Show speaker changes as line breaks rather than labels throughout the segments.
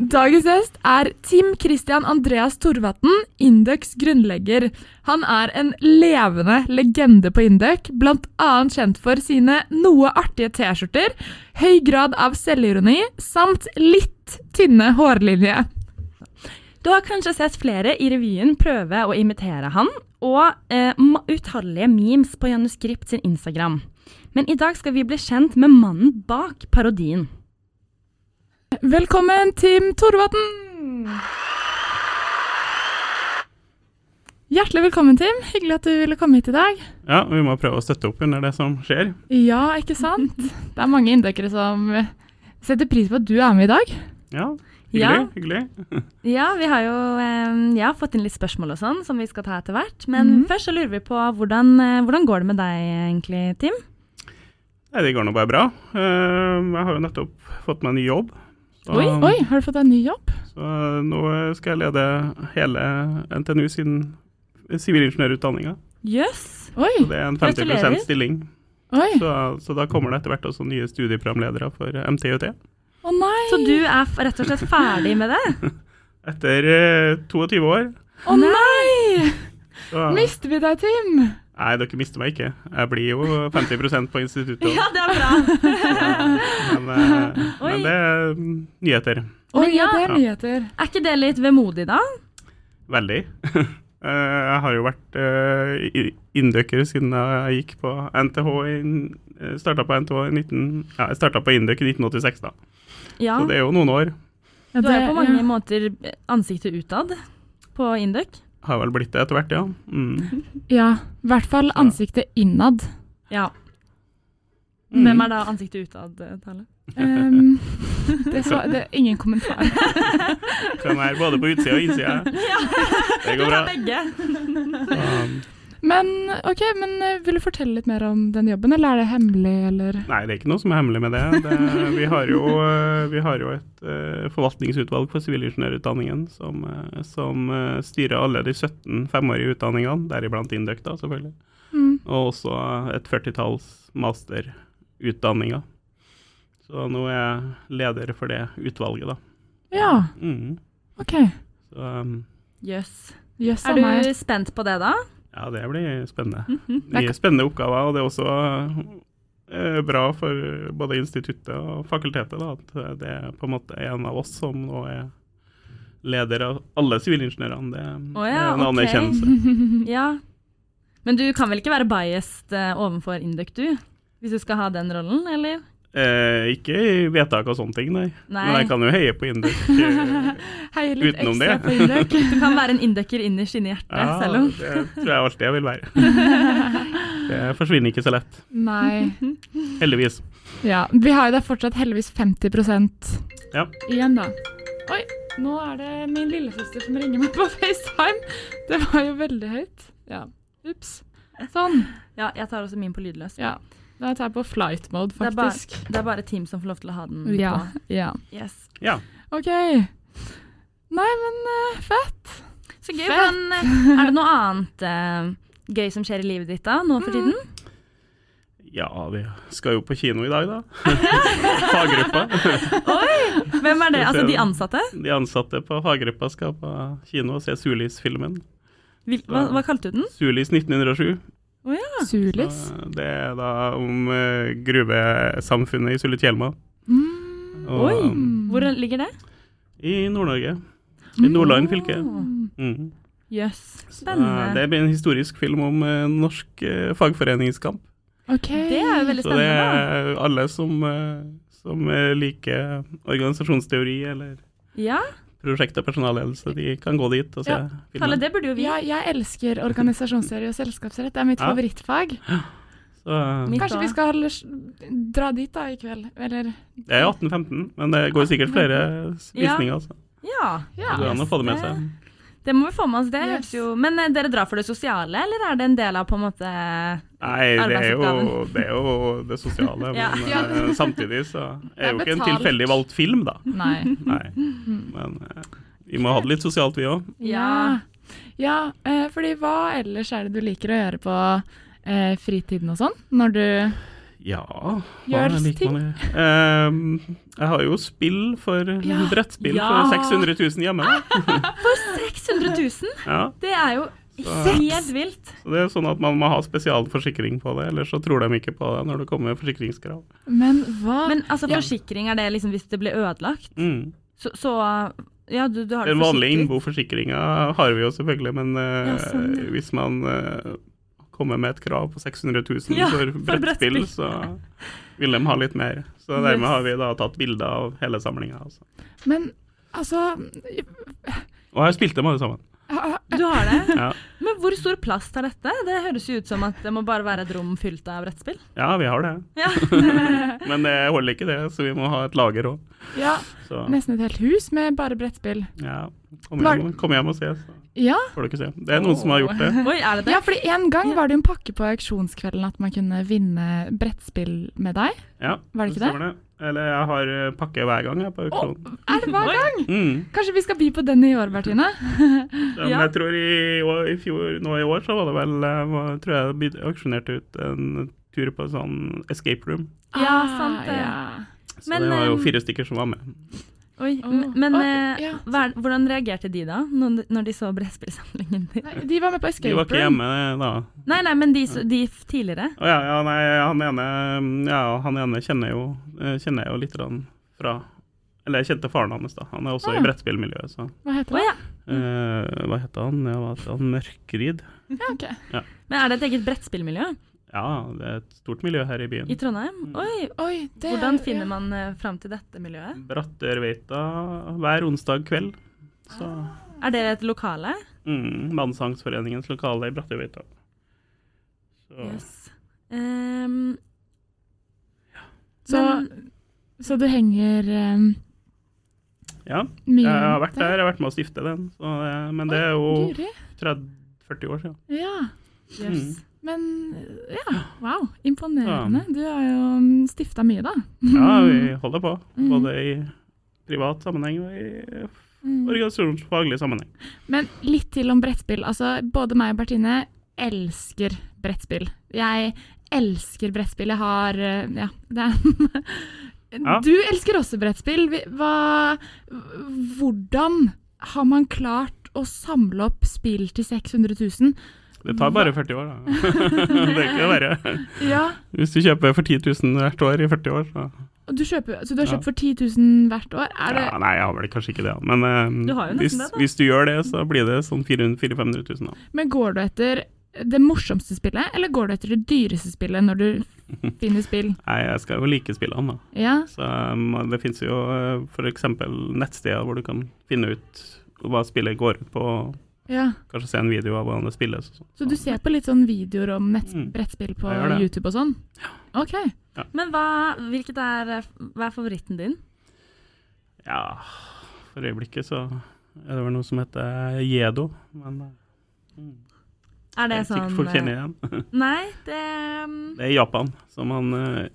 Dagens gjest er Tim Christian Andreas Torvatn, Indøks grunnlegger. Han er en levende legende på Indøk, bl.a. kjent for sine noe artige T-skjorter, høy grad av selvironi samt litt tynne hårlinjer.
Du har kanskje sett flere i revyen prøve å imitere han, og eh, ma- utallige memes på Januskript sin Instagram. Men i dag skal vi bli kjent med mannen bak parodien.
Velkommen, Tim Torvatn! Hjertelig velkommen, Tim. Hyggelig at du ville komme hit i dag.
Ja, og vi må prøve å støtte opp under det som skjer.
Ja, ikke sant? Det er mange indøkere som eh, setter pris på at du er med i dag.
Ja, hyggelig.
Ja.
hyggelig.
Ja, vi har jo eh, jeg har fått inn litt spørsmål og sånn, som vi skal ta etter hvert. Men
Mhm.
først så lurer vi på hvordan, eh, hvordan går det med deg egentlig, Tim?
Nei, det går nå bare bra. Eh, jeg har jo nettopp fått meg en ny jobb. Så,
Oi, oi, har du fått deg en ny jobb?
så nå skal jeg lede hele NTNU sin sivilingeniørutdanninga.
Jøss.
Oi,
Så det er en 50
Gratulerer.
stilling.
oi.
Så, så da kommer det etter hvert også nye studieprogramledere for MTUT.
Å nei.
Så du er f- rett og slett ferdig med det?
Etter eh, 22 år.
Å nei!
Så,
Mister vi deg, Tim?
nei, dere mister meg ikke. Jeg blir jo 50 på instituttet.
det er bra.
Men, eh,
Oi.
men det er mm, nyheter.
Oi,
Men
ja,
ja.
det er nyheter.
Er ikke det litt vemodig, da?
Veldig. Eh, jeg har jo vært eh, i- inndøkker siden jeg gikk på NTH i, eh, startet på NTH i 19... Ja, jeg starta på Indøk i 1986, da.
Ja.
Så det er jo noen år.
Ja,
Du er jo på mange
ja.
måter ansiktet utad på Induc.
Har vel blitt det etter hvert, ja. Mm.
Ja, i hvert fall ansiktet innad.
Ja.
Mm.
Hvem er da ansiktet utad, eh, Tale?
Ehm, det, så, det er ingen kommentar.
Kan være både på utsida og innsida. Det går bra.
begge.
Um,
Men ok, men eh, vil du fortelle litt mer om den jobben, eller er det hemmelig, eller?
Nei, det er ikke noe som er hemmelig med det. det vi, har jo, eh, vi har jo et eh, forvaltningsutvalg for sivilingeniørutdanningen som, eh, som eh, styrer alle de 17 femårige utdanningene, deriblant Indøk, da, selvfølgelig.
Mm.
Og også et 40-talls masterutdanninger. Så nå er jeg leder for det utvalget, da.
Ja,
Mm.
ok.
Så um,
Jøss.
Jøss
Er
a meg.
du spent på det, da?
ja, det blir spennende.
Mhm.
Mye spennende oppgaver, og det er også eh, bra for både instituttet og fakultetet da, at eh, det er på en måte en av oss som nå er leder av alle sivilingeniørene. Det
Å
er
ja,
en
ok.
anerkjennelse.
Ja. Men du kan vel ikke være biased eh, overfor Induc, du? Hvis du skal ha den rollen, eller?
Eh, ikke i vedtak og sånne ting, nei. Men
Nei.
jeg kan jo heie på Induk.
Heier litt
Utenom
ekstra
det.
på Indøk.
Du kan være en Inducer innerst inne i hjertet,
Ah.
selv om
det tror jeg alltid jeg vil være. Det forsvinner ikke så lett,
Nei.
heldigvis.
Ja, vi har jo da fortsatt heldigvis 50
Ja.
igjen, da. Oi, nå er det min lillesøster som ringer meg på FaceTime. Det var jo veldig høyt. Ja, ups. Sånn.
Ja, jeg tar også min på lydløs.
Ja. Nå er jeg på flight mode,
Det er bare-
faktisk.
Det er bare Team som får lov til å ha den
Ja,
på.
ja.
Yes.
Ja.
OK. Nei, men eh, fett.
Så gøy.
Fett.
Men eh, er det noe annet eh, gøy som skjer i livet ditt da, nå for tiden?
ja, vi skal jo på kino i dag, da. Faggruppa.
Hvem er det?
Skal vi se.
Altså de ansatte?
De ansatte på faggruppa skal på kino og se Sulis-filmen.
Hvil, hva, hva kalte du den?
Sulis 1907.
Å ja.
Sulis.
Så Det er da om eh, gruvesamfunnet i Sulitjelma.
Mm.
Og,
Oi.
um,
Hvor ligger det?
I Nord-Norge. I Nordland fylke.
Å,
Mm.
Jøss.
Så,
Oh,
eh,
Spennende.
Det blir en historisk film om eh, norsk eh, fagforeningskamp.
OK.
Det er jo veldig
Så det
spennende.
er alle som, eh, som eh, liker organisasjonsteori eller
da. Ja,
prosjekt- og personalledelse, de kan gå dit og se
Ja,
Kalle,
filmen.
det burde jo vi.
ja, jeg elsker organisasjonsserie og selskapsrett. Det er mitt
Ja.
favorittfag.
Så, eh,
Mitt
Kanskje vi
også.
skal dra dit da i kveld, eller?
det er 1815, men det går sikkert flere s-
Ja.
visninger. Altså.
Ja,
Ja.
Det går an å få det med seg.
det må vi få med oss. det.
Yes.
Høres jo. Men eh, dere drar for det sosiale, eller er det en del av på en måte
Nei, det er, jo,
Arbeidsoppgaven.
det er jo det sosiale, men
Ja.
Ja.
eh, samtidig så
Det
er
er
jo ikke en
betalt.
tilfeldig valgt film, da.
Nei.
Nei, men eh, vi må ha det litt sosialt, vi òg.
Ja. ja eh, fordi hva ellers er det du liker å gjøre på eh, fritiden og sånn? Når du
Ja hva
Gjørs
liker man å gjøre? Ehm, jeg har jo spill for
Ja.
brettspill
Ja.
for 600 000 hjemme. da.
600 000!
Ja.
Det er jo
Så-
helt vilt.
Så det er sånn at man må ha spesialforsikring på det, ellers så tror de ikke på det når det kommer forsikringskrav.
Men hva
Men altså, forsikring er det liksom hvis det blir ødelagt?
Mm.
Så, så ja, du, du har det
Den
forsikring.
vanlige innboforsikringa har vi jo selvfølgelig, men eh,
Ja, sånn, ja.
hvis man eh, kommer med et krav på 600 000
Ja,
for
for
brettspill,
brettspill.
så vil de ha litt mer. Så
Yes.
dermed har vi da tatt bilder av hele samlinga. Altså.
Men altså
Og jeg spilte dem alle sammen.
ha-
Du har det?
Ja.
Men hvor stor plass tar dette? Det høres jo ut som at det må bare være et rom fylt av brettspill.
ja, vi har det.
Ja.
Men det holder ikke det, så vi må ha et lager òg.
Ja,
Så
nesten et helt hus med bare brettspill.
ja, kom hjem, kom hjem og se, så
Ja,
får dere se. Det er noen som har gjort det.
Oi, er det det?
ja fordi en gang var det jo en pakke på auksjonskvelden at man kunne vinne brettspill med deg.
Ja,
Var det ikke
stemmer Eller jeg har eh, pakke hver gang jeg på auksjon.
Er det hver gang?
Mm.
Kanskje vi skal by på den i år, Bertine?
Ja, Men
Ja.
jeg tror i, år, i fjor, nå i år så var det vel eh, var- tror jeg byd- auksjonerte ut en tur på sånn escape room.
Ja, sant det.
ja.
Så
Men,
det var jo
eh,
fire stykker som var med.
Oi,
Åh.
men- Men
Åh,
eh,
ja.
hva- hvordan reagerte de da, når når de så brettspillsamlingen din?
Nei, de var med på escape
De var ikke
room.
hjemme eh, da.
Nei, nei, men de, så- de f- tidligere?
Å ja, ja, nei, han ene, mm, ja, han ene kjenner, jo, eh, kjenner jeg jo litt grann fra Eller jeg kjente faren hans, da. Han er også
Ah.
i brettspillmiljøet, så
Hva
Å
heter det?
ja.
eh, Hva heter han? Ja, hva heter han? Mørkrid?
Ja, ok.
Men er det et eget brettspillmiljø
Ja, det er et stort miljø her i byen.
i
Mm.
Trondheim? Oi,
Oi, det
hvordan finner man eh, fram til dette miljøet?
Brattørveita hver onsdag kveld. Så,
Er det et lokale?
mm, Mannsangsforeningens lokale i Brattørveita. Så,
Yes. Ehm,
Så, så du henger em,
ja,
Mm.
mye
jeg har vært
rundt
der. Jeg har vært med å stifte den. Så, eh, men det er jo
Guri.
30-40 år siden.
Ja. Mm.
yes.
Men eh, ja, wow. Imponerende. Du har jo stifta mye, da.
Ja, vi holder på.
Mm.
Både i privat sammenheng og i
Mm.
organisasjonsfaglig sammenheng.
Men litt til om brettspill. Altså, både meg og Bertine elsker brettspill. Jeg elsker brettspill. Jeg har eh, Ja, det er
Ja.
Du elsker også brettspill. Vi- Hva Hvordan har man klart å samle opp spill til 600 000?
Det tar bare 40 år, da. det er ikke verre.
Ja.
Hvis du kjøper for 10 000 hvert år i 40 år, så
Og du kjøper, så du har
Ja.
kjøpt for 10 000 hvert år? Er det
ja, Nei, jeg har vel kanskje ikke det, men eh,
Du har jo nesten
hvis,
det, da.
hvis du gjør det, så blir det sånn 400 400 000, da.
Men går du etter det morsomste spillet, eller går du etter det dyreste spillet når du finner spill?
Nei, jeg skal jo like spillene, da.
Ja,
Så um, det finnes jo f.eks. nettsteder hvor du kan finne ut hva spillet går ut på, og
ja.
kanskje se en video av hvordan det spilles. Og sånn.
Så du ser på litt sånn videoer om nett
Mm.
brettspill på
Jeg gjør det.
YouTube og sånn? Ok.
Men hva, hvilket er, eh, hva er favoritten din?
Ja, for øyeblikket så er det vel noe som heter Jedo, men eh, det
Er det
er sikkert
sånn
folk kjenner
eh,
igjen.
Nei, det ehm,
Det er i Japan, som han eh,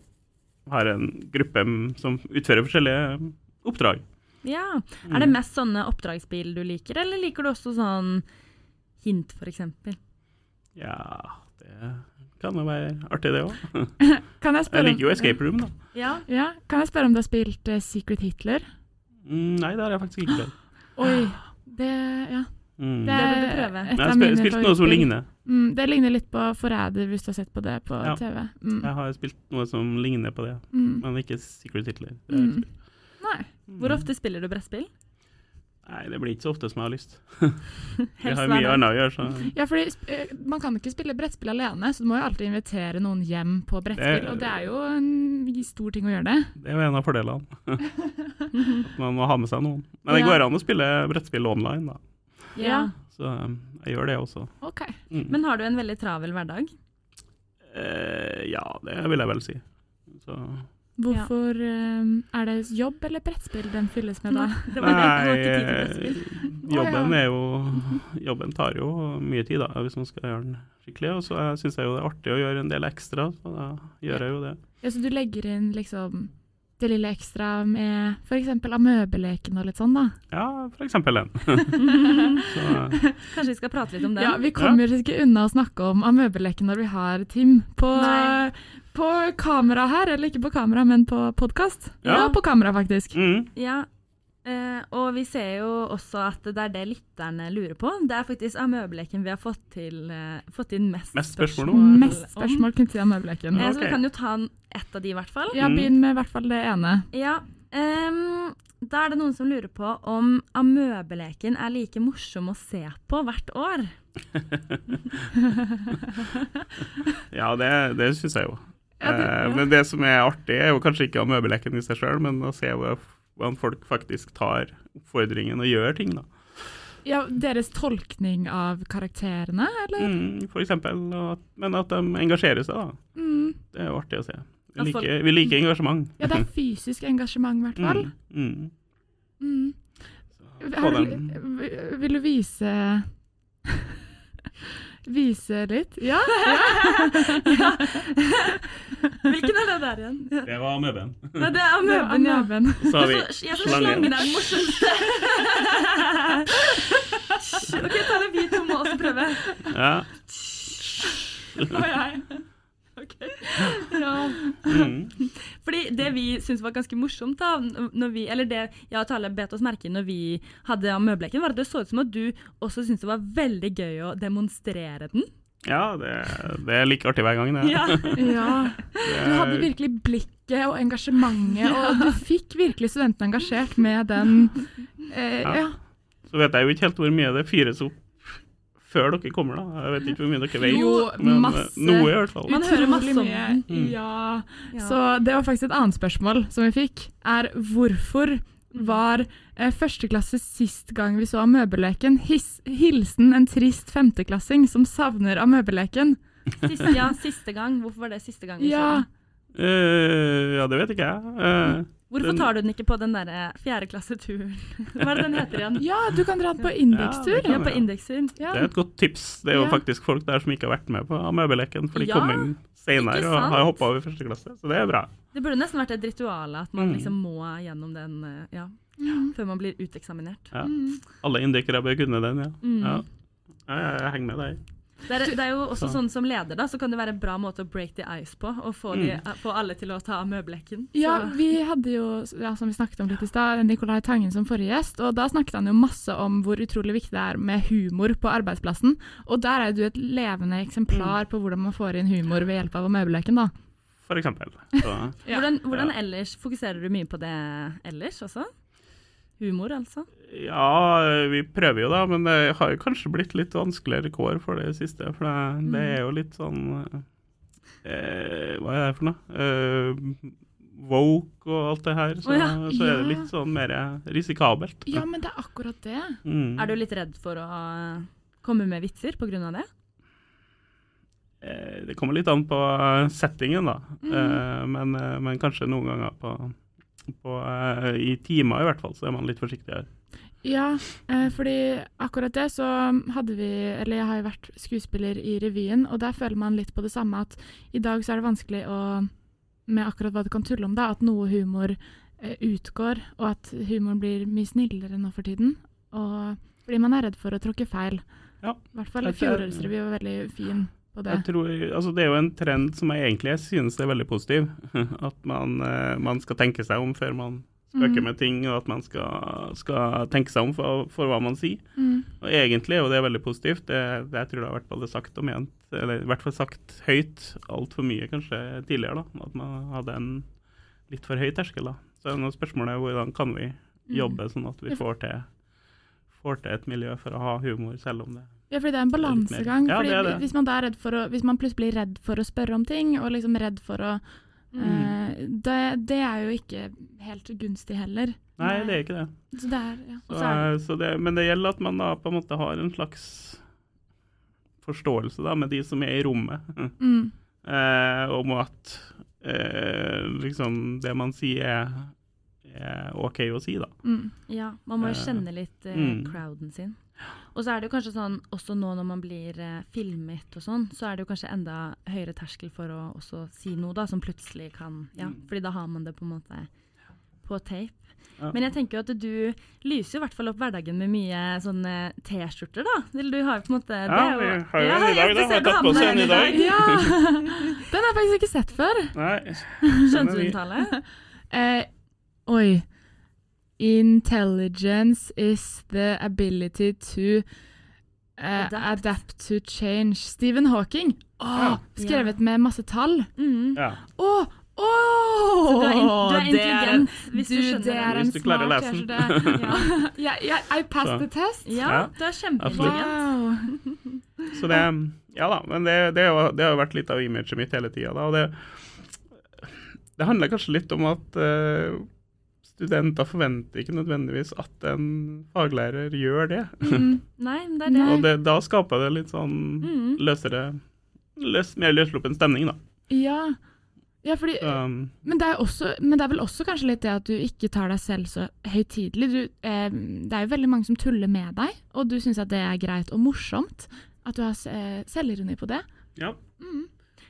har en gruppe m- som utfører forskjellige oppdrag. Mm.
Ja. Er det mest sånne oppdragsspill du liker, eller liker du også sånn hint, f.eks.?
Ja, det kan jo være artig, det òg.
Kan jeg
Jeg
spørre,
liker jo Escape Room, da.
Ja.
ja, kan jeg spørre om du har spilt eh, Secret Hitler?
Mm, nei, det har jeg faktisk ikke prøvd.
Oi, det Ja.
Mm.
Det
Jeg
bør du prøve.
et
har
av
spil-
mine
spilt noe som
favorittspill.
ligner.
Mm, det ligner litt på Forræder, hvis du har sett på det på
Ja.
TV. Mm,
Jeg har spilt noe som ligner på det,
mm,
men ikke Secret Hitler. Det har jeg
mm.
ikke spilt.
Nei.
Hvor ofte spiller du brettspill?
Nei, det blir ikke så ofte som jeg har lyst. Vi
Helst
har
hver
mye
dag.
annet å gjøre, så
Ja, fordi sp- eh, Man kan ikke spille brettspill alene, så du må jo alltid invitere noen hjem på brettspill.
Det-
og det er jo en stor ting å gjøre det.
det er jo en av fordelene. At man må ha med seg noen. Men det
Ja.
går an å spille brettspill online, da.
Ja.
Ja.
Så um, jeg gjør det også.
Ok.
Mm.
Men har du en veldig travel hverdag?
eh, ja, det vil jeg vel si. Så
Hvorfor eh, Er det jobb eller brettspill den fylles med da?
Det var det. Du har
Nei, eh,
ikke tid til brettspill.
Å, ja.
jobben er jo Jobben tar jo mye tid, da, hvis man skal gjøre den skikkelig. Og så eh, syns jeg jo det er artig å gjøre en del ekstra, så da gjør jeg jo det.
Ja, så du legger inn liksom det lille ekstra med f.eks. amøbeleken og litt sånn, da.
Ja, for eksempel den. så, eh,
Kanskje vi skal prate litt om den?
Ja, Vi kommer ikke unna å snakke om amøbeleken når vi har Tim på,
Nei.
på kamera her. Eller ikke på kamera, men på podkast. Ja.
Ja.
på kamera, faktisk.
mm,
Ja, eh, og vi ser jo også at det er det lytterne lurer på. Det er faktisk amøbeleken vi har fått, til, eh, fått inn mest,
Mest spørsmål om.
Mest spørsmål knyttet til amøbeleken.
om. Eh, Så vi
Ok.
kan jo ta en- ett av de, i hvert fall.
Mm.
Ja, begynn med i hvert fall det ene.
Ja, ehm, da er det noen som lurer på om amøbeleken er like morsom å se på hvert år.
ja, det, det syns jeg jo.
Ja, det-
Eh, Men det som er artig, er jo kanskje ikke amøbeleken i seg sjøl, men å se hvor- hvordan folk faktisk tar oppfordringen og gjør ting, da.
Ja, Deres tolkning av karakterene, eller?
Mm, for eksempel. Og at, men at de engasjerer seg, da.
Mm.
Det er jo artig å se.
Ja,
Vi
folk-
liker, vi liker engasjement.
Ja, det er fysisk engasjement, i hvert fall.
Mm, mm.
Mm.
Så
Har
få
du,
dem-
v- vil du vise Vise litt? Ja,
Hvilken er det der igjen? Ja.
Det var amøben.
Nei, det er
det var
amøben, ja.
amøben.
Så har vi
Altså,
Jeg synes slangen
slangen.
er den morsomste. OK, ta det vi to må også prøve.
Ja.
Ja.
Mm.
Fordi det vi syntes var ganske morsomt, da, n- når vi, eller det jeg og Tale bet oss merke i når vi hadde amøbleken, var at det så ut som at du også syntes det var veldig gøy å demonstrere den.
Ja, det, det er like artig hver gang, det.
Ja. Du hadde
det
virkelig blikket og engasjementet, og du fikk virkelig studentene engasjert med den eh,
Ja.
ja.
så vet jeg jo ikke helt hvor mye det fyres opp før dere kommer, da. Jeg vet ikke hvor mye dere vet.
Jo,
men eh,
masse.
noe, i hvert fall.
Man hører masse om
Utrolig mye.
den. Mm.
Ja.
Ja.
Så det var faktisk et annet spørsmål som vi fikk, er hvorfor var eh, førsteklasse sist gang vi så amøbeleken his, hilsen en trist femteklassing som savner amøbeleken?
Siste, ja, siste gang. Hvorfor var det siste gang? vi så
Ja.
den?
Eh, ja, det vet ikke jeg. Eh,
Hvorfor
Den-
tar du den ikke på den eh, derre fjerdeklasseturen? Hva er det den heter igjen?
ja, du kan dra den på
Ja, det
indekstur.
kan-
Ja, på indeksturen.
Ja.
det er et godt tips. Det er jo
Ja.
faktisk folk der som ikke har vært med på amøbeleken, for de
Ja,
kom inn senere
ikke
og
sant?
har hoppa over første klasse, så det er bra.
Det burde nesten vært et ritual at man
Mm.
liksom må gjennom den eh, ja, før man blir uteksaminert.
Ja.
Mm.
Alle indikere bør kunne den, ja.
Mm.
ja. Ja, jeg, jeg henger med deg.
Det er, det er jo også
Så.
sånn som leder, da, så kan det være en bra måte å break the ice på. Og få, de,
Mm.
eh, få alle til å ta møblekken.
Ja, vi hadde jo, ja, som vi snakket om litt i stad, Nicolai Tangen som forrige gjest, og da snakket han jo masse om hvor utrolig viktig det er med humor på arbeidsplassen, og der er jo du et levende eksemplar på hvordan man får inn humor ved hjelp av amøbeleken, da.
For eksempel. Så,
Ja.
Hvordan, hvordan ellers fokuserer du mye på det ellers også? Humor, altså.
Ja, vi prøver jo da, men det har jo kanskje blitt litt vanskeligere kår for det siste. For
Mm.
det, det er jo litt sånn eh, Hva er det for noe? Eh, woke og alt det her. Så,
Å ja,
så er det
ja.
litt sånn mer risikabelt.
Ja, men det er akkurat det.
Mm.
Er du litt redd for å komme med vitser pga. det?
Eh, det kommer litt an på settingen, da.
Mm.
Eh, men, eh, men kanskje noen ganger på, på eh, I timer, i hvert fall, så er man litt forsiktigere.
Ja, eh, fordi akkurat det så hadde vi, eller jeg har jo vært skuespiller i revyen, og der føler man litt på det samme at i dag så er det vanskelig å, med akkurat hva du kan tulle om da, at noe humor eh, utgår, og at humoren blir mye snillere nå for tiden, og fordi man er redd for å tråkke feil.
Ja.
I hvert fall
Jeg tror-
fjorårets revy var veldig fin på det.
Jeg tror, altså det er jo en trend som jeg egentlig synes er veldig positiv. At man, eh, man skal tenke seg om før man
Mm.
spøker
Mhm.
med ting, og at man skal, skal tenke seg om for, for hva man sier.
Mm.
Og egentlig er jo det veldig positivt. Det, det jeg tror det har vært både sagt og ment, eller i hvert fall sagt høyt altfor mye kanskje tidligere, da. At man hadde en litt for høy terskel, da. Så nå spørsmålet er hvordan kan vi
Mm.
jobbe sånn at vi får til, får til et miljø for å ha humor, selv om det
Ja, fordi det er en
Det er litt mer-
balansegang.
Ja,
fordi
det er det.
Hvis man, da er redd for å, hvis man plutselig er redd for å spørre om ting, og liksom redd for å
Mm.
eh, det, det er jo ikke helt gunstig heller.
Nei, det er ikke det.
Så det er, ja.
Og
Så,
så er
eh, så det, men det gjelder at man da på en måte har en slags forståelse da, med de som er i rommet,
Mm.
eh, om at eh, liksom det man sier er, er OK å si, da.
Mm.
Ja, man må jo
Eh,
kjenne litt eh,
mm.
crowden sin. Og så er det jo kanskje sånn, også nå når man blir eh, filmet og sånn, så er det jo kanskje enda
Mm.
høyere terskel for å også si noe da, som plutselig kan Ja, fordi da har man det på en måte på tape.
Ja.
Men jeg tenker jo at du lyser jo i hvert fall opp hverdagen med mye sånne T-skjorter, da. Eller du har jo på en måte
Ja,
det er
vi har jo en i dag, da.
jeg ser
Har
du
tatt på oss
med
en i dag.
Ja! Den har jeg faktisk ikke sett før.
Nei.
Skjønte du den tale?
Eh, oi. Intelligence is the ability to eh,
Adapt.
adapt. to change. Stephen Hawking. Åh,
Ja.
skrevet med masse tall.
Mm.
Ja.
Åh, åh!
Du er, in du er
Det er-
intelligent, hvis du,
du,
skjønner
det er
det.
en
Hvis du klarer å
smart
lese den.
T-skjorte.
Ja.
ja, ja, I passed
Så.
the test.
ja,
Ja,
du er kjempeintelligent.
Wow.
Så det Ja da. Men det, det, har- det har jo vært litt av imaget mitt hele tida, da. Og det, det handler kanskje litt om at eh, studenter forventer ikke nødvendigvis at en faglærer gjør det.
Mm.
Nei, men det er det.
Nei.
Og det, da skaper det litt sånn
Mm.
løsere løs, Mer løssluppen stemning, da.
Ja. ja, fordi
Um,
Men det, er også, men det er vel også kanskje litt det at du ikke tar deg selv så høytidelig. Du, eh, det er jo veldig mange som tuller med deg, og du syns at det er greit og morsomt. At du har s- eh, selvironi på det.
ja.
Mm.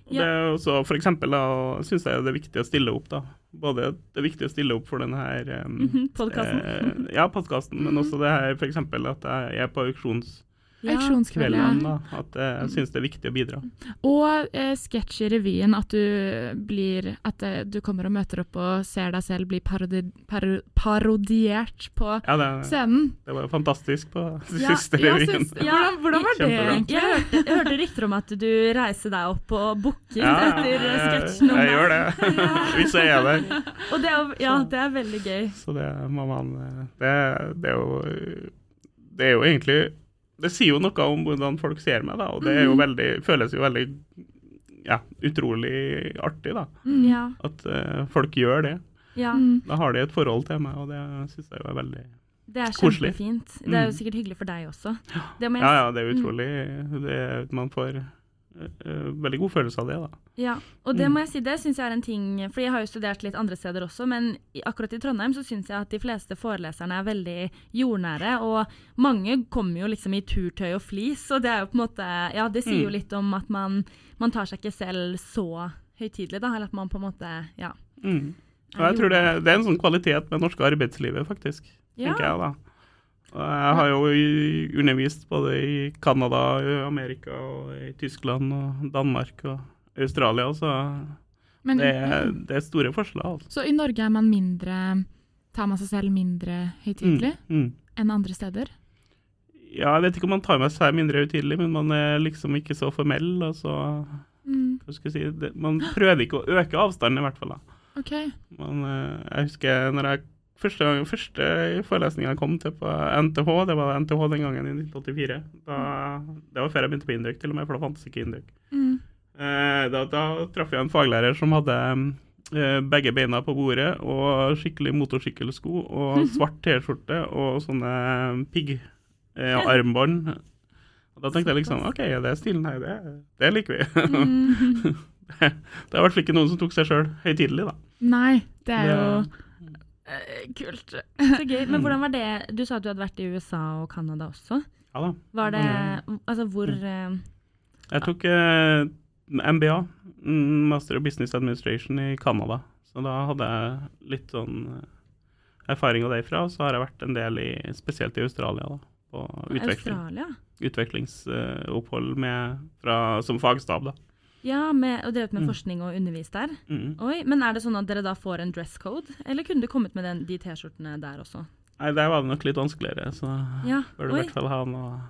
Og det er også, for eksempel, da syns jeg det er viktig å stille opp, da. Både det er viktig å stille opp for den her um,
Mhm, Podkasten.
Eh, ja, podkasten,
Mhm.
men også det her f.eks. at jeg er på auksjonskvelden.
Ja. Mhm.
Auksjonskvelden.
Da, at jeg syns det er viktig å bidra.
Og eh, sketsj i revyen. At du, blir, at eh, du kommer og møter opp og ser deg selv bli parodi, paro, parodiert på
Ja, det,
scenen.
det var jo fantastisk på
Ja,
siste
Ja,
revyen.
syns, hvordan, hvordan var det,
Kjempebra.
egentlig?
Jeg hørte, jeg hørte rykter om at du reiser deg opp og booker
Ja,
etter eh,
jeg,
sketsjen. om
jeg
deg.
gjør det, hvis jeg er der.
Og det er, jo- ja, det er veldig gøy.
Så det må man eh, Det, det er jo Det er jo egentlig Det sier jo noe om hvordan folk ser meg, da, og det er jo veldig, føles jo veldig ja, utrolig artig, da.
Mm.
Ja,
At eh, folk gjør det.
ja.
Mm.
Da har de et forhold til meg, og det syns jeg jo er veldig
Det er
Koselig.
kjempefint. Det er jo
Mm.
sikkert hyggelig for deg også. Det må jeg
Ja, ja, det er utrolig. Det, man får ø, ø, veldig god følelse av det, da.
Ja, og det
Mm.
må jeg si, det syns jeg er en ting For jeg har jo studert litt andre steder også, men i, akkurat i Trondheim så syns jeg at de fleste foreleserne er veldig jordnære. Og mange kommer jo liksom i turtøy og flis, og det er jo på en måte Ja, det sier jo
Mm.
litt om at man, man tar seg ikke selv så høytidelig, da, eller at man på en måte Ja.
Mm. Og
er
jeg tror det, det er en sånn kvalitet med det norske arbeidslivet, faktisk.
Ja.
tenker jeg da. Og jeg har jo i- undervist både i Canada, i Amerika, og i Tyskland og Danmark og Australia, så
Men,
det er, det er store forskjeller. Altså.
Så i Norge er man mindre Tar man seg selv mindre høytidelig
Mm. Mm.
enn andre steder?
Ja, jeg vet ikke om man tar med seg mindre høytidelig, men man er liksom ikke så formell. Og så,
Mm.
hva skal jeg si, det, man prøver ikke å øke avstanden, i hvert fall. da.
OK.
Men eh, jeg husker når jeg første, gang, første forelesningen jeg kom til på NTH, det var NTH den gangen i 1984. Da, det var før jeg begynte på Induk, til og med, for da fantes ikke Induk.
Mm.
Eh, da, da traff jeg en faglærer som hadde eh, begge beina på bordet og skikkelig motorsykkelsko og svart T-skjorte og sånne piggarmbånd. Og da tenkte jeg liksom OK, det er stilen her, det, det liker vi.
Mm.
det er i hvert fall ikke noen som tok seg sjøl høytidelig, da.
Nei, det er jo
Ja.
eh, kult.
Så gøy. Men hvordan var det Du sa at du hadde vært i USA og Canada også.
Ja Mm. da.
Var det Altså hvor eh,
Jeg tok eh, MBA, mm, Master of Business Administration, i Canada. Så da hadde jeg litt sånn eh, erfaring av det ifra. Og så har jeg vært en del i, spesielt i Australia, da, på utveksling,
Australia?
utvekslingsopphold med, fra, som fagstab, da.
Ja, med, og drevet med
Mm.
forskning og undervist der.
Mm.
Oi, men er det sånn at dere da får en dress code? Eller kunne du kommet med den, de T-skjortene der også?
Nei, der var det nok litt vanskeligere, så
Ja,
bør du i
oi.
hvert fall ha noe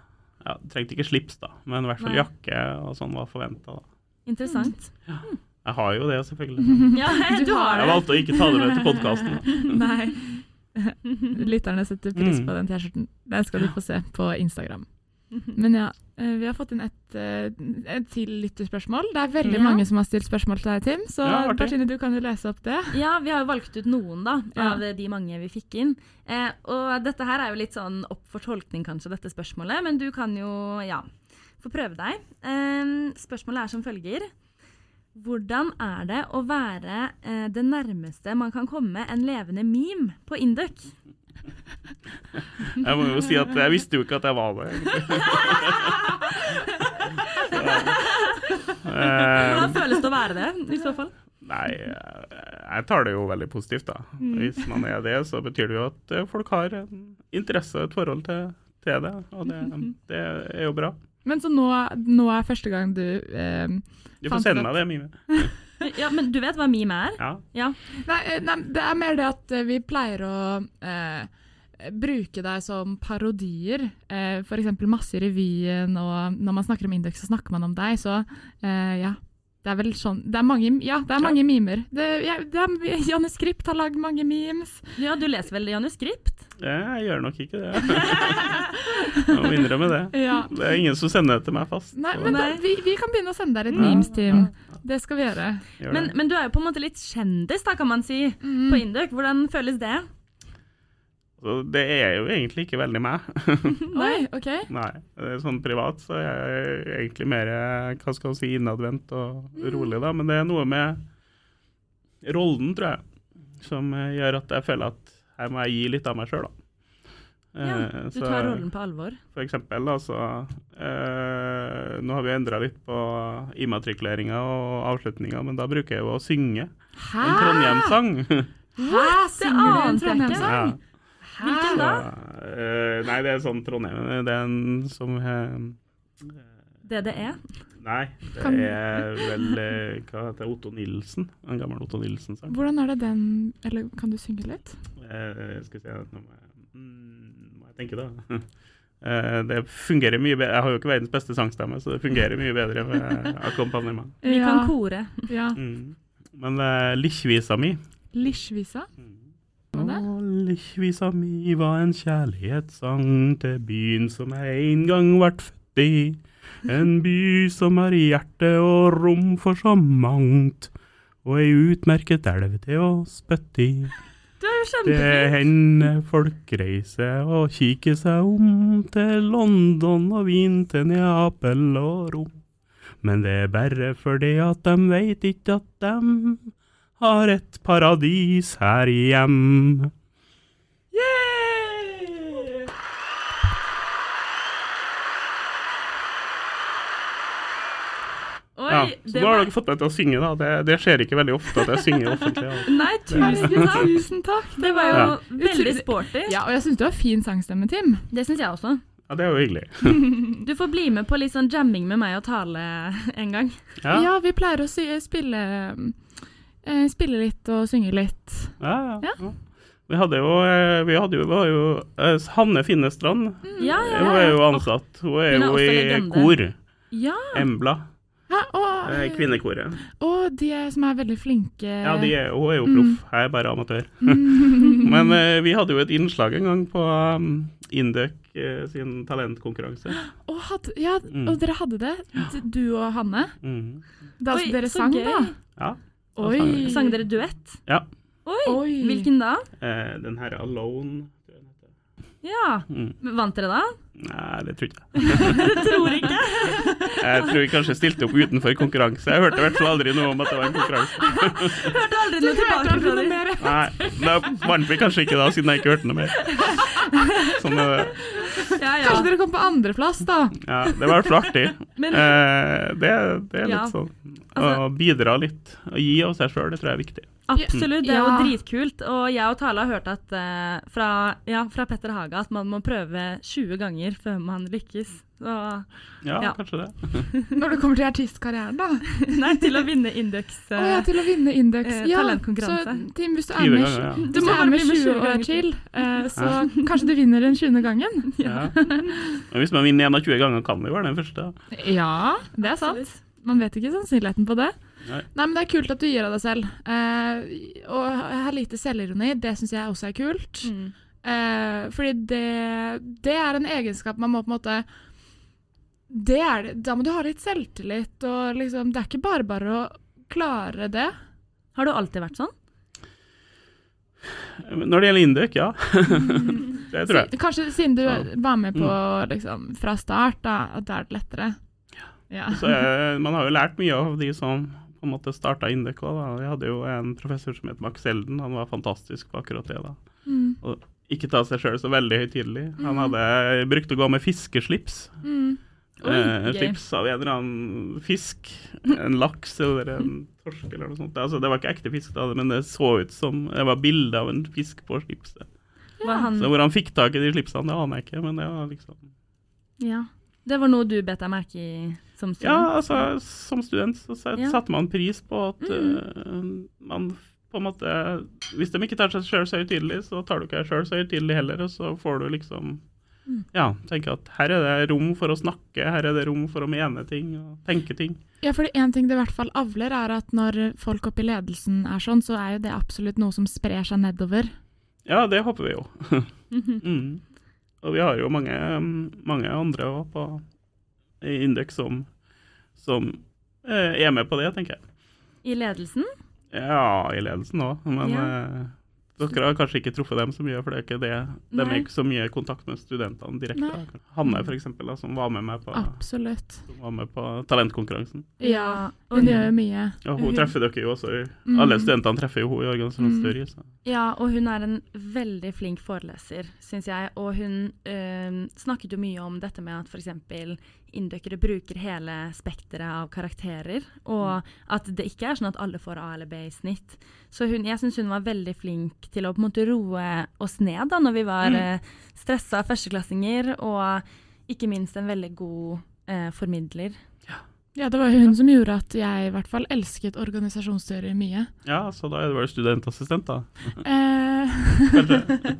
ja, Trengte ikke slips, da, men i hvert fall
Nei.
jakke og sånn var forventa, da.
Interessant.
Jeg har jo det, selvfølgelig. men
Ja, Mm. du har
Jeg
det.
valgte å ikke ta det med til podkasten.
Nei. Lytterne setter pris på
Mm.
den T-skjorten. Den skal du få se på Instagram. Men ja, eh, vi har fått inn et, eh, et til lytterspørsmål. Det er veldig
Ja.
mange som har stilt spørsmål til deg, Tim, så
Ja, artig.
Bertine, du kan jo lese opp det.
Ja, vi har jo valgt ut noen da,
Ja.
av de mange vi fikk inn. Eh, og dette her er jo litt sånn opp for tolkning kanskje, dette spørsmålet, men du kan jo, ja, få prøve deg. Eh, spørsmålet er som følger. Hvordan er det å være eh, det nærmeste man kan komme en levende meme på Induc?
Jeg må jo si at jeg visste jo ikke at jeg var det. egentlig. Så, eh,
Um. Hvordan føles det å være det, i så fall?
nei, eh, jeg tar det jo veldig positivt, da.
Mm.
Hvis man er det, så betyr det jo at eh, folk har en interesse og et forhold til, til det, og det,
Mm-hmm.
det er jo bra.
Men så nå, nå er første gang du eh,
Du
Fant
får sende
ut at-
meg det, Mime.
Ja, men du vet hva meme er?
Ja.
Ja.
nei, eh, nei, det er mer det at eh, vi pleier å eh, bruke deg som parodier. Eh, F.eks. masse i revyen, og når man snakker om Indeks, så snakker man om deg. Så eh, ja. Det er vel sånn Det er mange, ja, det er mange mimer. Det, ja, det er, Janne Skript har lagd mange memes.
ja, du leser vel manuskript?
Jeg gjør nok ikke det. Jeg må innrømme det.
Ja.
Det er ingen som sender det til meg fast.
Nei,
så
men da,
Nei.
vi, vi kan begynne å sende deg et
Ja,
memes, Tim.
ja,
Det skal vi gjøre.
gjør
Men,
det. Mhm.
men du er jo på en måte litt kjendis, da, kan man si,
Mm.
på Induk. Hvordan føles det?
Så det er jo egentlig ikke veldig meg.
Oi, OK.
Nei. det er Sånn privat så er jeg egentlig mer eh, hva skal man si, innadvendt og
Mm.
rolig, da. Men det er noe med rollen, tror jeg, som eh, gjør at jeg føler at her må jeg gi litt av meg sjøl, da.
Ja,
Eh,
du
så-
tar rollen på alvor.
For eksempel, da, så eh, Nå har vi endra litt på immatrikuleringa og avslutninga, men da bruker jeg jo å synge
Hæ?
en Trondheimssang.
Hæ? Synger du en
ante jeg ikke.
Trondheimssang? Hæ?
Hvilken da?
eh, nei, det er sånn Trondheim Det er en som eh,
DDE.
Nei, det
Kan-
er vel eh, Hva heter det? Otto Nilsen? En gammel Otto Nilsen-sang.
Hvordan er det den Eller kan du synge litt?
Eh, skal vi se Nå må jeg, mm, må jeg tenke, da. Eh, det fungerer mye bedre Jeg har jo ikke verdens beste sangstemme, så det fungerer mye bedre med akkompagnement.
Vi
ja.
kan kore.
Ja.
Mm. Men eh, likkvisa mi
Lisjvisa? Hva da?
Og likkvisa mi var en kjærlighetssang til byen som jeg en gang vart født i. En by som har hjerte og rom for så mangt, og ei utmerket elv til å spytte i.
Du er jo
Det
kjempeflink.
hender folk reiser og kikker seg om til London og Wien, til Neapel og Rom. Men det er bare fordi at de veit ikke at de har et paradis her hjem.
Oi,
Ja, så
det
nå har
var
dere fått meg til å synge, da. Det, det skjer ikke veldig ofte at jeg synger offentlig. da.
Nei, tusen
Herregud,
takk.
tusen takk!
Det var jo
Ja.
veldig sporty.
Ja, og jeg syns du har fin sangstemme, Tim.
Det syns jeg også.
Ja, det er jo hyggelig.
Du får bli med på litt sånn jamming med meg og Tale en gang.
Ja,
Ja, ja,
vi pleier å sy spille eh, Spille litt og synge litt.
ja. ja. Vi hadde jo, eh, vi hadde jo, vi var jo eh, Hanne Finnestrand.
Ja, ja,
Hun er
ja.
Mm. jo ansatt. Hun er
Hun er
jo
også
i
legende.
kor.
ja.
Embla.
Hæ? Og,
Eh, Kvinnekoret.
og de som er veldig flinke
Ja, de er, hun er jo proff. Jeg er bare amatør.
Mm.
Men eh, vi hadde jo et innslag en gang på um, Indøk eh, sin talentkonkurranse.
og, hadde, ja,
Mm.
og dere hadde det, d- du og Hanne?
Mhm.
Da
Oi,
dere
så
sang,
gøy.
da?
Ja. da
Oi.
sang vi.
Sang dere duett?
Ja.
Oi,
Oi.
Hvilken da?
Eh, den her Alone tror jeg den heter.
Ja.
Mm.
Vant dere da?
Nei, det tror jeg ikke.
Tror ikke.
Jeg tror vi kanskje stilte opp utenfor konkurranse. Jeg hørte i hvert fall aldri noe om at det var en konkurranse.
Hørte aldri noe
Hørte
tilbake
aldri
fra
noe
dem.
mer.
Nei, Da vant vi kanskje ikke da, siden jeg ikke hørte noe mer. Sånn er det.
Ja, ja.
Kanskje dere kom på andreplass, da?
Ja, det var i hvert fall artig.
Men-
eh, det, det er
Ja.
litt sånn. Å
Altså-
bidra litt. Å gi av seg sjøl, det tror jeg er viktig.
Absolutt, det er jo
Ja.
dritkult. Og jeg og Tale har hørt at, eh, fra, ja, fra Petter Haga at man må prøve 20 ganger før man lykkes. Så,
Ja,
Ja.
kanskje det.
Når det kommer til artistkarrieren, da?
nei, til å vinne Indux.
Å ja, til å vinne Indeks.
eh,
Ja, så
talentkonkurranse.
Tim, hvis du er
20
med,
ganger, ja.
hvis
Du
du
må
er
bare
med
bli med
20 og
20
er
ganger
chill, eh, så kanskje du vinner den 20. gangen.
Ja. Men hvis man vinner 21 ganger, kan vi jo være den første. da.
Ja, det er sant. Man vet ikke sannsynligheten på det.
Nei.
men Det er kult at du gir av deg selv. Eh, og jeg har lite selvironi. Det syns jeg også er kult.
Mm.
Eh, fordi det, det er en egenskap man må på en måte det er, det- Da må du ha litt selvtillit. Og liksom, det er ikke bare bare å klare det.
Har du alltid vært sånn?
Men Når det gjelder Indøk, ja. det tror jeg.
Si- Kanskje siden du
Ja. Mm.
var med på liksom, fra start, da, at da er det lettere. Ja.
Så eh, man har jo lært mye av de som på en måte starta Indøk òg. Vi hadde jo en professor som het Max Elden. Han var fantastisk på akkurat det. da.
Mm,
Mm. eh, Ikke ta seg sjøl så veldig høytidelig. Han hadde brukt å gå med fiskeslips.
mm.
Oi,
Eh, en
gøy.
slips av en eller annen fisk, en laks eller en torsk eller noe sånt. Altså, det var ikke ekte fisk, da, men det så ut som Det var bilde av en fisk på slipset.
Var han,
Så hvor han fikk tak i de slipsene, det aner jeg ikke, men det var liksom
ja. Det var noe du bet deg merke i som student?
Ja, altså, som student så set-
Ja.
satte man pris på at eh, man på en måte Hvis de ikke tar seg sjøl så høytidelig, så tar du ikke deg sjøl så høytidelig heller, og så får du liksom Ja, tenke at her er det rom for å snakke, her er det rom for å mene ting og tenke ting.
Ja, fordi En ting det i hvert fall avler, er at når folk oppe i ledelsen er sånn, så er jo det absolutt noe som sprer seg nedover.
Ja, det håper vi jo.
Mhm.
mm. Og vi har jo mange, um, mange andre også på i Indeks som, som eh, er med på det, tenker jeg.
I ledelsen?
Ja, i ledelsen òg, men
Ja.
eh, dere har kanskje ikke truffet dem så mye, for det er ikke det. de
Nei.
er ikke så mye i kontakt med studentene direkte.
Nei.
da. Hanne, for eksempel, da, som var med meg på,
Absolutt.
som var med på talentkonkurransen.
Ja.
Og,
Hun gjør jo mye.
Og
Hun-
hun treffer dere jo også. i-
Mm.
Alle studentene treffer jo hun i organisasjonsstyret. så-
ja, og hun er en veldig flink foreleser, syns jeg. Og hun øhm, snakket jo mye om dette med at f.eks. inndøkkere bruker hele spekteret av karakterer, og
Mm.
at det ikke er sånn at alle får A eller B i snitt. Så hun, jeg syns hun var veldig flink til å på en måte roe oss ned da, når vi var mm. stressa førsteklassinger, og ikke minst en veldig god eh, formidler.
Ja, det var jo hun som gjorde at jeg i hvert fall elsket organisasjonsstyret mye.
Ja, så da er du vel studentassistent, da.
Eh,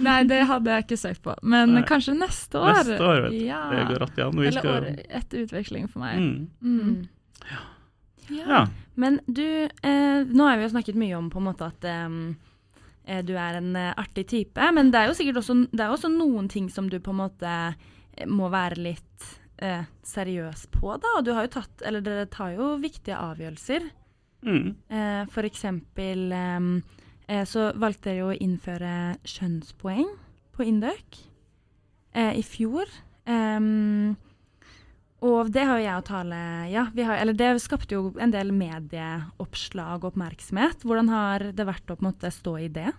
Nei, det hadde jeg ikke søkt på, men
Nei.
kanskje neste år.
Neste år, vet du.
Ja.
Det går rett igjen. Vi
Eller
skal
året etter utveksling for meg.
mm.
Mm.
Ja.
Men du, eh, nå har vi jo snakket mye om på en måte at ehm, eh, du er en eh, artig type, men det er jo sikkert også, det er jo også noen ting som du på en måte eh, må være litt eh, seriøs på, da. Og du har jo tatt, eller dere tar jo viktige avgjørelser.
Mm.
Eh, for eksempel ehm, eh, så valgte dere jo å innføre kjønnspoeng på Indøk eh, i fjor. Ehm, og det har jo jeg og Tale Ja, vi har, eller det skapte jo en del medieoppslag og oppmerksomhet. Hvordan har det vært å på en måte stå i det?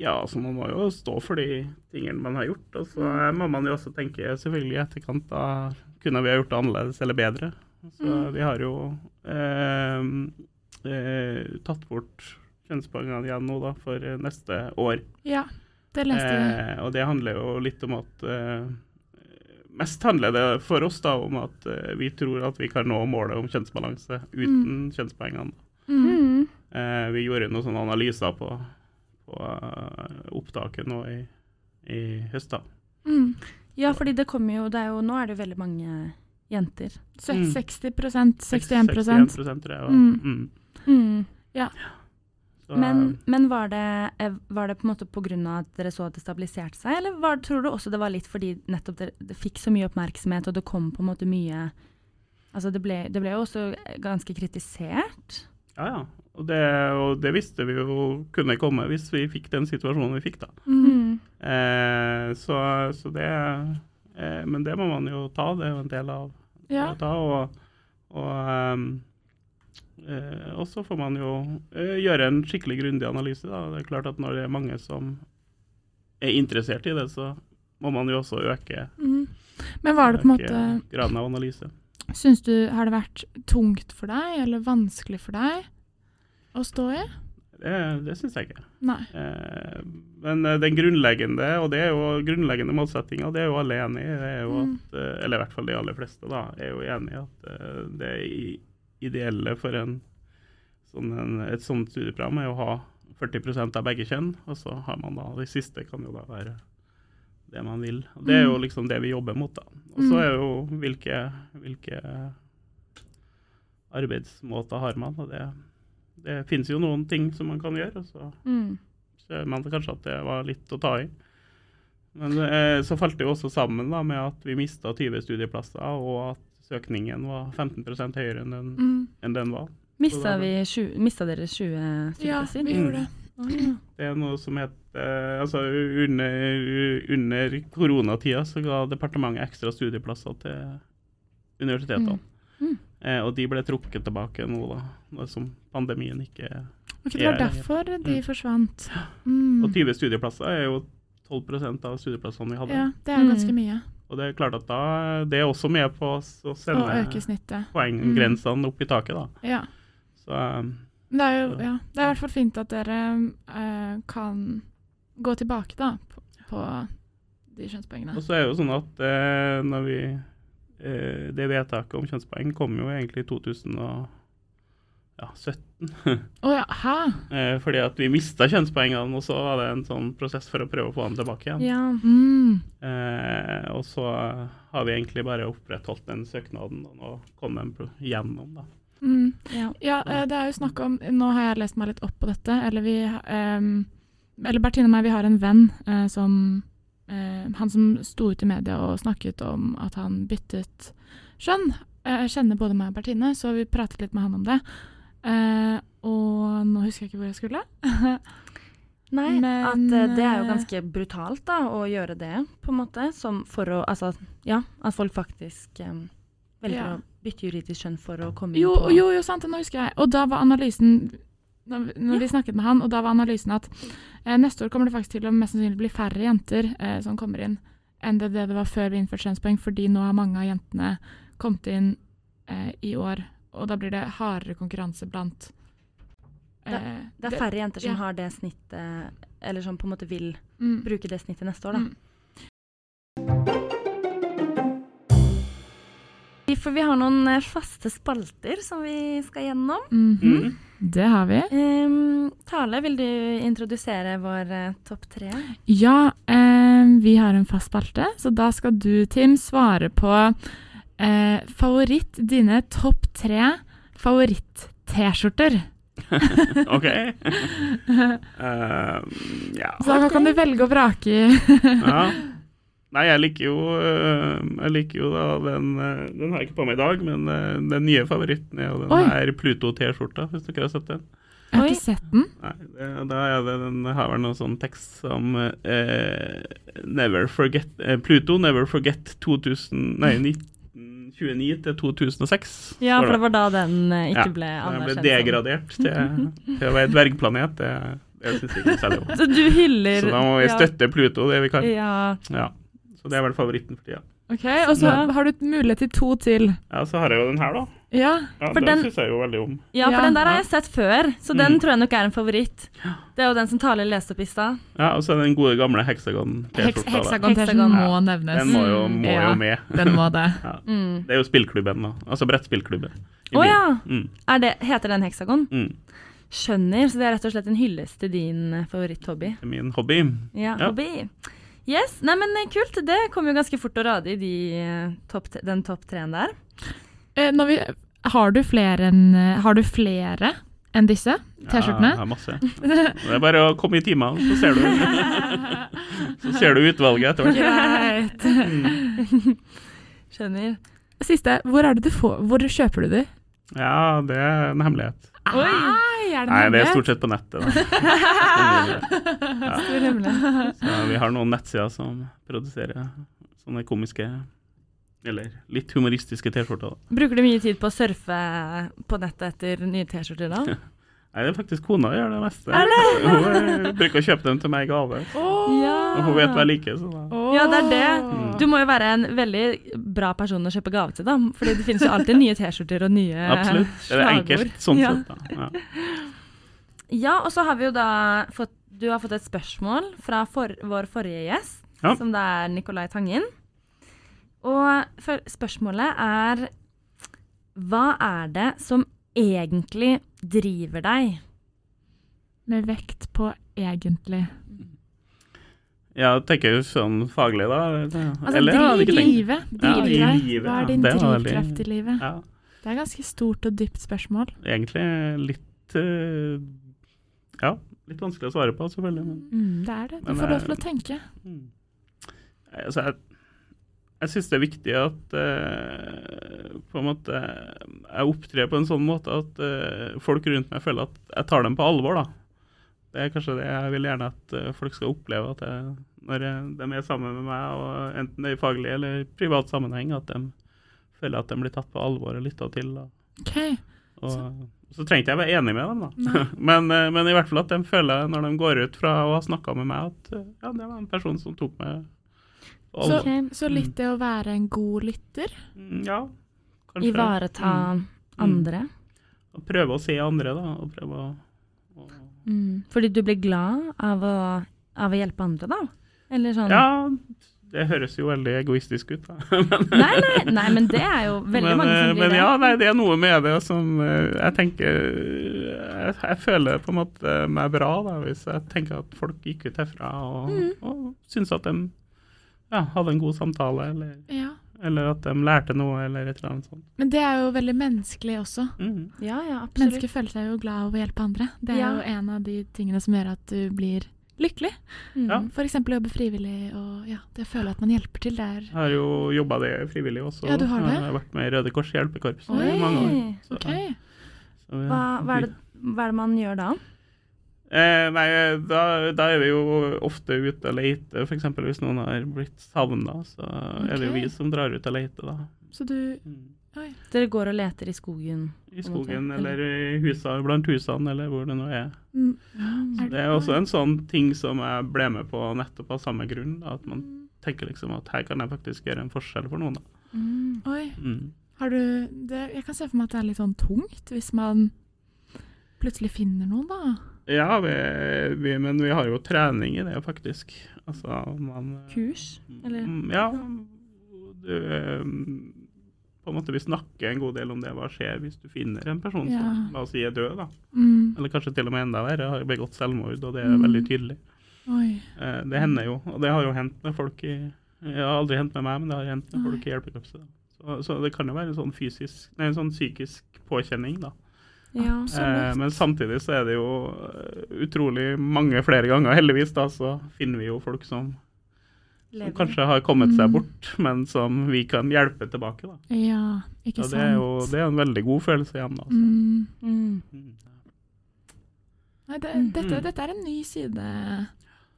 Ja, så man må jo stå for de tingene man har gjort. Og så eh, må man jo også tenke selvfølgelig i etterkant da kunne vi ha gjort det annerledes eller bedre. Så vi har jo eh, eh, tatt bort kjønnspoengene igjen nå da for eh, neste år.
Ja, det leste jeg.
Eh, og det handler jo litt om at eh, Mest handler det for oss da om at eh, vi tror at vi kan nå målet om kjønnsbalanse uten kjønnspoengene.
Mm.
Eh, vi gjorde noen sånne analyser på, på eh, opptaket nå i, i høst. da.
Mm.
Ja, fordi det kommer jo, det er jo Nå er det jo veldig mange jenter.
Se-
Mm.
60 61
61 tror jeg. Og,
Mm.
mm. Så,
Men,
eh,
men var, det, eh, var det på en måte pga. at dere så at det stabiliserte seg, eller var, tror du også det var litt fordi nettopp dere det fikk så mye oppmerksomhet, og det kom på en måte mye Altså det ble, det ble jo også eh, ganske kritisert.
Ja, ja. Og det, og det visste vi jo kunne komme hvis vi fikk den situasjonen vi fikk, da.
Mm.
Eh, så, så det eh, Men det må man jo ta, det er jo en del av
Ja.
å ta. Og, og ehm, eh, og så får man jo eh, gjøre en skikkelig grundig analyse. Da. Det er klart at når det er mange som er interessert i det, så må man jo også øke,
Mm. Men var det på en måte
øke graden av analyse.
Syns du har det vært tungt for deg, eller vanskelig for deg å stå i?
Det, det syns jeg ikke.
Nei.
Eh, men eh, den grunnleggende, og det er jo grunnleggende målsettinga, det er jo alle enig i. Det er jo
Mm.
at, eh, eller i hvert fall de aller fleste, da, er jo enig i at eh, det i- ideelle for en, sånn en, et sånt studieprogram er å ha 40 av begge kjønn, og så har man da de siste kan jo da være det man vil. Og Det er jo liksom det vi jobber mot, da. Og så er jo hvilke, hvilke arbeidsmåter har man, og det, det finnes jo noen ting som man kan gjøre. og så
Mm.
ser man kanskje at det var litt å ta i. Men eh, så falt det jo også sammen da, med at vi mista 20 studieplasser, og at søkningen var 15 høyere enn den,
Mm.
enn den var.
Mista, vi tju- mista dere eh, 20
Ja,
studieplasser?
Mm.
vi gjorde det. Mm.
Det er noe som heter Altså under, under koronatida så ga departementet ekstra studieplasser til universitetene.
Mm. Mm.
Eh, og de ble trukket tilbake nå, da, nå som pandemien ikke
Ok, det var
Ja, ja, ja.
derfor de
Mm.
forsvant. Mm.
Og 20 studieplasser er jo 12 av studieplassene vi hadde.
Ja, det er jo
Mm.
ganske mye.
Og det er klart at da, det er også med på oss å
Og øke
sende
snittet.
poenggrensene opp i taket, da.
Ja.
Så eh,
Men Det er jo ja, det er i hvert fall fint at dere eh, kan gå tilbake da, på, på de kjønnspoengene.
Og så er det jo sånn at eh, når vi eh, Det vedtaket om kjønnspoeng kom jo egentlig i 2017.
Å ja, hæ?
Eh, fordi at vi mista kjønnspoengene, og så var det en sånn prosess for å prøve å få dem tilbake igjen.
Ja.
Mm.
Eh, og så har vi egentlig bare opprettholdt den søknaden, og nå kom den pro- gjennom, da.
Mm.
ja.
Ja, eh, det er jo snakk om Nå har jeg lest meg litt opp på dette. Eller vi ehm, Eller Bertine og meg, vi har en venn eh, som eh, Han som sto ut i media og snakket om at han byttet skjønn. Eh, Jeg kjenner både meg og Bertine, så vi pratet litt med han om det. Eh, og nå husker jeg ikke hvor jeg skulle.
Nei,
Men,
at eh, det er jo
eh,
ganske brutalt da, å gjøre det, på en måte. Som for å Altså, ja, at folk faktisk eh, velger
Ja.
å bytte juridisk kjønn for å komme inn
Jo,
på
jo, jo, sant, det, nå husker jeg. Og da var analysen når vi- når vi snakket med han, og da var analysen at eh, neste år kommer det faktisk til å mest sannsynlig bli færre jenter eh, som kommer inn, enn det, det det var før vi innførte kjønnspoeng, fordi nå har mange av jentene kommet inn eh, i år, og da blir det hardere konkurranse blant eh,
Det er færre jenter som
ja.
har det snittet, eller som på en måte vil
mm.
bruke det snittet neste år, da.
Mm.
For vi har noen eh, faste spalter som vi skal gjennom.
Mhm.
Mm.
Det har vi.
Ehm, Tale, vil du introdusere vår eh, topp tre?
Ja, eh, vi har en fast spalte, så da skal du, Tim, svare på eh, favoritt dine topp tre favoritt-T-skjorter.
Mm. OK? Eh, ja.
Så da kan du velge og vrake i
ja. Nei, jeg liker jo eh, Jeg liker jo da den eh, Den har jeg ikke på meg i dag, men eh, den nye favoritten er jo den
Oi.
her Pluto-T-skjorta, hvis dere har sett den.
Jeg har
Oi.
ikke sett den.
Nei, det, da er det den har vel noe sånn tekst som eh, Never forget eh, Pluto never forget 2000 Nei, 1929 til 2006.
Ja,
står
for det var da den eh, ikke
Ja,
ble
Den ble
anerkjent. som-
degradert til, til å være dvergplanet. Det, det syns jeg ikke noe særlig om.
Så du hyller
Så da må vi støtte Pluto det vi kan.
Ja. ja.
Ja. Så det er vel favoritten for tida.
Ok, Eh, Og så
Ja.
har du mulighet til to til.
Ja, så har jeg jo den her, da.
Ja.
Ja,
For
den
den-
syns jeg jo veldig om.
Ja, for
Ja.
den der har jeg sett før, så den
Mm.
tror jeg nok er en favoritt. Det er jo den som Tale leste opp i stad.
Ja, Og så er den gode gamle heksagon-T-skjorta. da.
Heksagon-T-skjorten må
Ja.
nevnes.
Den må jo, må
Ja.
jo med.
Den må det.
Mm.
Det er jo spillklubben, da. Altså brettspillklubben.
Å
i byen.
ja!
Mm,
Er det, heter den heksagon?
mm.
Skjønner, så det er rett og slett en hyllest til din eh, favoritthobby.
Det er min hobby.
Ja,
Ja.
hobby. Yes, nei, men eh, kult. Det kom jo ganske fort og radig, de, eh, topp t- den topp treen der.
Eh, når vi, har du flere enn eh, Har du flere enn disse T-skjortene?
Ja, jeg har masse. Det er bare å komme i timene, så ser du, så ser du utvalget etter hvert. Mm.
Greit.
Skjønner.
Siste. Hvor er det du får Hvor kjøper du de?
Ja, det er en hemmelighet.
Ai, Ah, er det
Nei, det er
mulig?
stort sett på nettet, da.
Stor hemmelighet.
Så vi har noen nettsider som produserer sånne komiske eller litt humoristiske T-skjorter. da.
Bruker du mye tid på å surfe eh, på nettet etter nye T-skjorter da?
Nei, det er faktisk kona som gjør det meste. Hun eh, bruker å kjøpe dem til meg i gave. Og hun vet hva jeg liker, så da
Ja, det er det. Du må jo være en veldig bra person å kjøpe gave til, da. Fordi det finnes jo alltid nye T-skjorter og nye
Absolutt. Det er
slagord.
enkelt sånn
Ja.
sett, da. Ja.
Ja, og så har vi jo da fått Du har fått et spørsmål fra for, vår forrige gjest,
Ja.
som det er Nicolai Tangen. Og for, spørsmålet er Hva er det som egentlig driver deg? Mm.
Med vekt på egentlig.
Ja, tenker jo sånn faglig, da.
Altså
Eller jeg hadde
driv,
ikke tenkt
drive.
Ja,
Drive deg.
drive,
Hva
ja.
er din
Det var veldig-
drivkraft i livet?
Ja,
Det er ganske stort og dypt spørsmål.
egentlig litt eh, Ja, litt vanskelig å svare på, selvfølgelig. Men,
Mm, Det er det. Du
Men,
får lov
eh,
til å tenke.
mm. Nei, altså, jeg, jeg syns det er viktig at eh, på en måte jeg opptrer på en sånn måte at eh, folk rundt meg føler at jeg tar dem på alvor, da. Det er kanskje det jeg vil gjerne at eh, folk skal oppleve, at jeg, når jeg, de er sammen med meg, og enten det er i faglig eller privat sammenheng, at de føler at de blir tatt på alvor og lytta til. da.
OK.
Og så, trengte jeg å være enig med dem, da. men, eh, men i hvert fall at de føler, når de går ut fra å ha snakka med meg, at eh, ja, det var en person som tok meg Alle.
Ok.
Så litt det å være en god lytter.
Mm, Ja, kanskje.
Ivareta
Mm.
andre.
Og prøve å se andre, da. Og prøve å, å
Mm. Fordi du blir glad av å, av å hjelpe andre, da? Eller sånn
Ja, det høres jo veldig egoistisk ut, da.
Nei, nei, nei, men det er jo veldig
men,
mange
eh,
som blir
men
det.
ja, nei, det er noe med det som eh, jeg tenker jeg, jeg føler på en måte meg bra da, hvis jeg tenker at folk gikk ut herfra og,
Mm.
og syntes at de ja, hadde en god samtale, eller,
Ja.
eller at de lærte noe, eller et eller annet sånt.
Men det er jo veldig menneskelig også.
Mm.
ja, ja, absolutt.
Mennesker føler seg jo glad av å hjelpe andre. Det er
Ja.
jo en av de tingene som gjør at du blir lykkelig.
Mm.
Ja.
F.eks. å jobbe frivillig og ja, det å føle at man hjelper til. Det er
Jeg har jo jobba det frivillig også.
Ja, du har det.
Jeg har vært med i Røde Kors hjelpekorpset
Oi.
i mange år. Så-
OK.
så vi-
Hva, hva, er det, hva er det man gjør da?
Eh, nei, da, da er vi jo ofte ute og leter, f.eks. hvis noen har blitt savna, så er det
Ok.
jo vi som drar ut og leter, da.
Så du
Mm.
Oi.
Dere går og leter i skogen.
I skogen eller i husa, blant husene, eller hvor det nå er.
Mm.
Mm.
Det er også en sånn ting som jeg ble med på nettopp av samme grunn, da, at man tenker liksom at her kan jeg faktisk gjøre en forskjell for noen, da.
Mm.
Oi.
Mm.
Har du det, Jeg kan se for meg at det er litt sånn tungt hvis man plutselig finner noen, da.
Ja, vi, vi, men vi har jo trening i det, faktisk. Altså, man
Kurs, eller?
Mm, Ja. Du, eh, på en måte vi snakker en god del om det. Hva skjer hvis du finner en person som
Ja.
la oss si er død? da.
Mm.
Eller kanskje til og med enda verre, har begått selvmord, og det er
Mm.
veldig tydelig.
Oi.
Eh, det hender jo, og det har jo hendt med folk i Det har aldri hendt med meg, men det har hendt med folk i hjelpekorpset. da. Så, så det kan jo være en sånn fysisk, nei, en sånn psykisk påkjenning, da.
Ja.
Eh, men samtidig så er det jo eh, utrolig mange flere ganger, heldigvis, da, så finner vi jo folk som som
Lever.
kanskje har kommet seg
Mm.
bort, men som vi kan hjelpe tilbake. Da.
Ja, ikke sant.
Så det er jo det er en veldig god følelse igjen. Da, så.
mm.
Mm.
Mm.
Nei, det,
Mm.
dette,
Mm.
dette er en ny side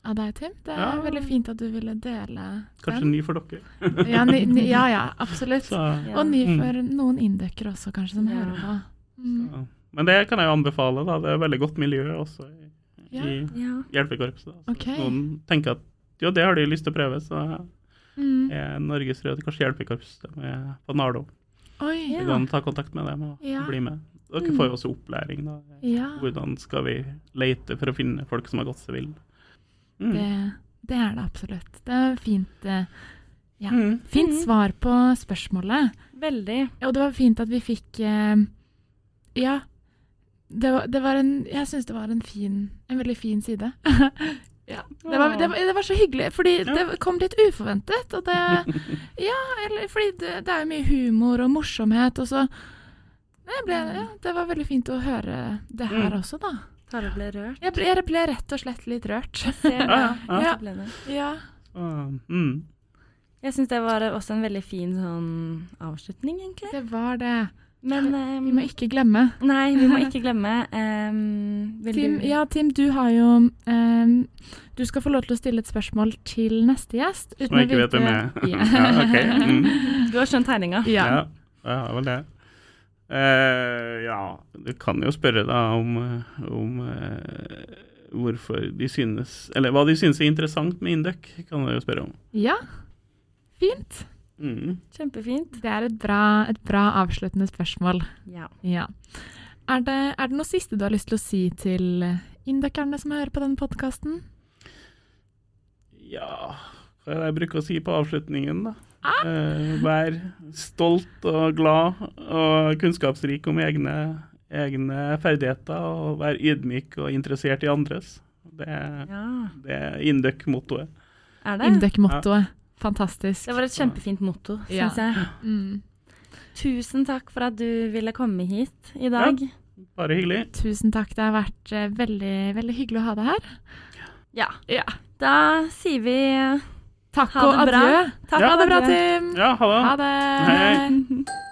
av deg, Tim. Det er
Ja.
veldig fint at du ville dele
Kanskje ny for dere.
den. Ja, ny, ny, ja, ja, absolutt.
Så,
Ja.
Og ny
Mm.
for noen indøkere også, kanskje, som
Ja.
hører på. Mm.
ja. Men det kan jeg jo anbefale. Da. Det er veldig godt miljø også i,
Ja.
i
Ja.
hjelpekorpset. Da. Så
Ok.
hvis Noen tenker at jo, det har de lyst til å prøve, så
Mm.
er Norges Røde Kors hjelpekorps de er på Nardo.
Oi.
Du
Ja.
kan ta kontakt med dem og
Ja. Mm.
bli med. Dere får jo også opplæring. da.
Ja,
Hvordan skal vi lete for å finne folk som har gått seg vill? Mm.
det, det er det absolutt. Det er fint, eh, ja.
Mm.
fint
Mhm.
svar på spørsmålet.
Veldig.
Og det var fint at vi fikk eh, Ja. Det var, det var en Jeg syns det var en fin En veldig fin side. ja. Det var, det, var, det var så hyggelig, fordi det kom litt uforventet. Og det Ja, eller fordi det, det er jo mye humor og morsomhet, og så jeg ble, ja, Det var veldig fint å høre det her
Mm.
også, da.
Tare ble rørt.
Jeg ble, jeg ble rett og slett litt rørt.
Ser det.
Ja,
ja.
Så ble det.
ja.
Ah, mm.
Jeg syns det var også en veldig fin sånn avslutning, egentlig.
Det var det.
Men
Vi
ehm,
må ikke glemme.
Nei, vi må ikke glemme. ehm, vil
Tim,
du-
ja, Tim, du har jo ehm, Du skal få lov til å stille et spørsmål til neste gjest.
Som jeg ikke vet hvem er. ja, ok. Mm.
Du har skjønt tegninga.
Ja.
Ja, jeg har vel det. Eh, ja, du kan jo spørre da om, eh, om eh, hvorfor de synes Eller hva de synes er interessant med Induc, kan du jo spørre om.
ja. Fint.
Mm.
Kjempefint.
Det er et bra, et bra avsluttende spørsmål.
Ja.
Ja. Er det, er det noe siste du har lyst til å si til indokerne som hører på denne podkasten?
Ja Hva er det jeg bruker å si på avslutningen, da? Eh, vær stolt og glad og kunnskapsrik om egne, egne ferdigheter, og vær ydmyk og interessert i andres. Det, er-
ja.
det er Induc-mottoet.
Er det?
Indok-mottoet. Fantastisk.
Det var et kjempefint motto,
Ja.
syns jeg.
Mm.
Tusen takk for at du ville komme hit i dag.
Bare hyggelig.
Tusen takk. Det har vært eh, veldig, veldig hyggelig å ha deg her.
Ja.
Ja.
Da sier vi eh,
Takk
Ha
og
det bra.
adjø.
takk.
Ja.
Ha det bra,
Adjø.
Tim.
Ja, ha det.
Ha det.
Hei.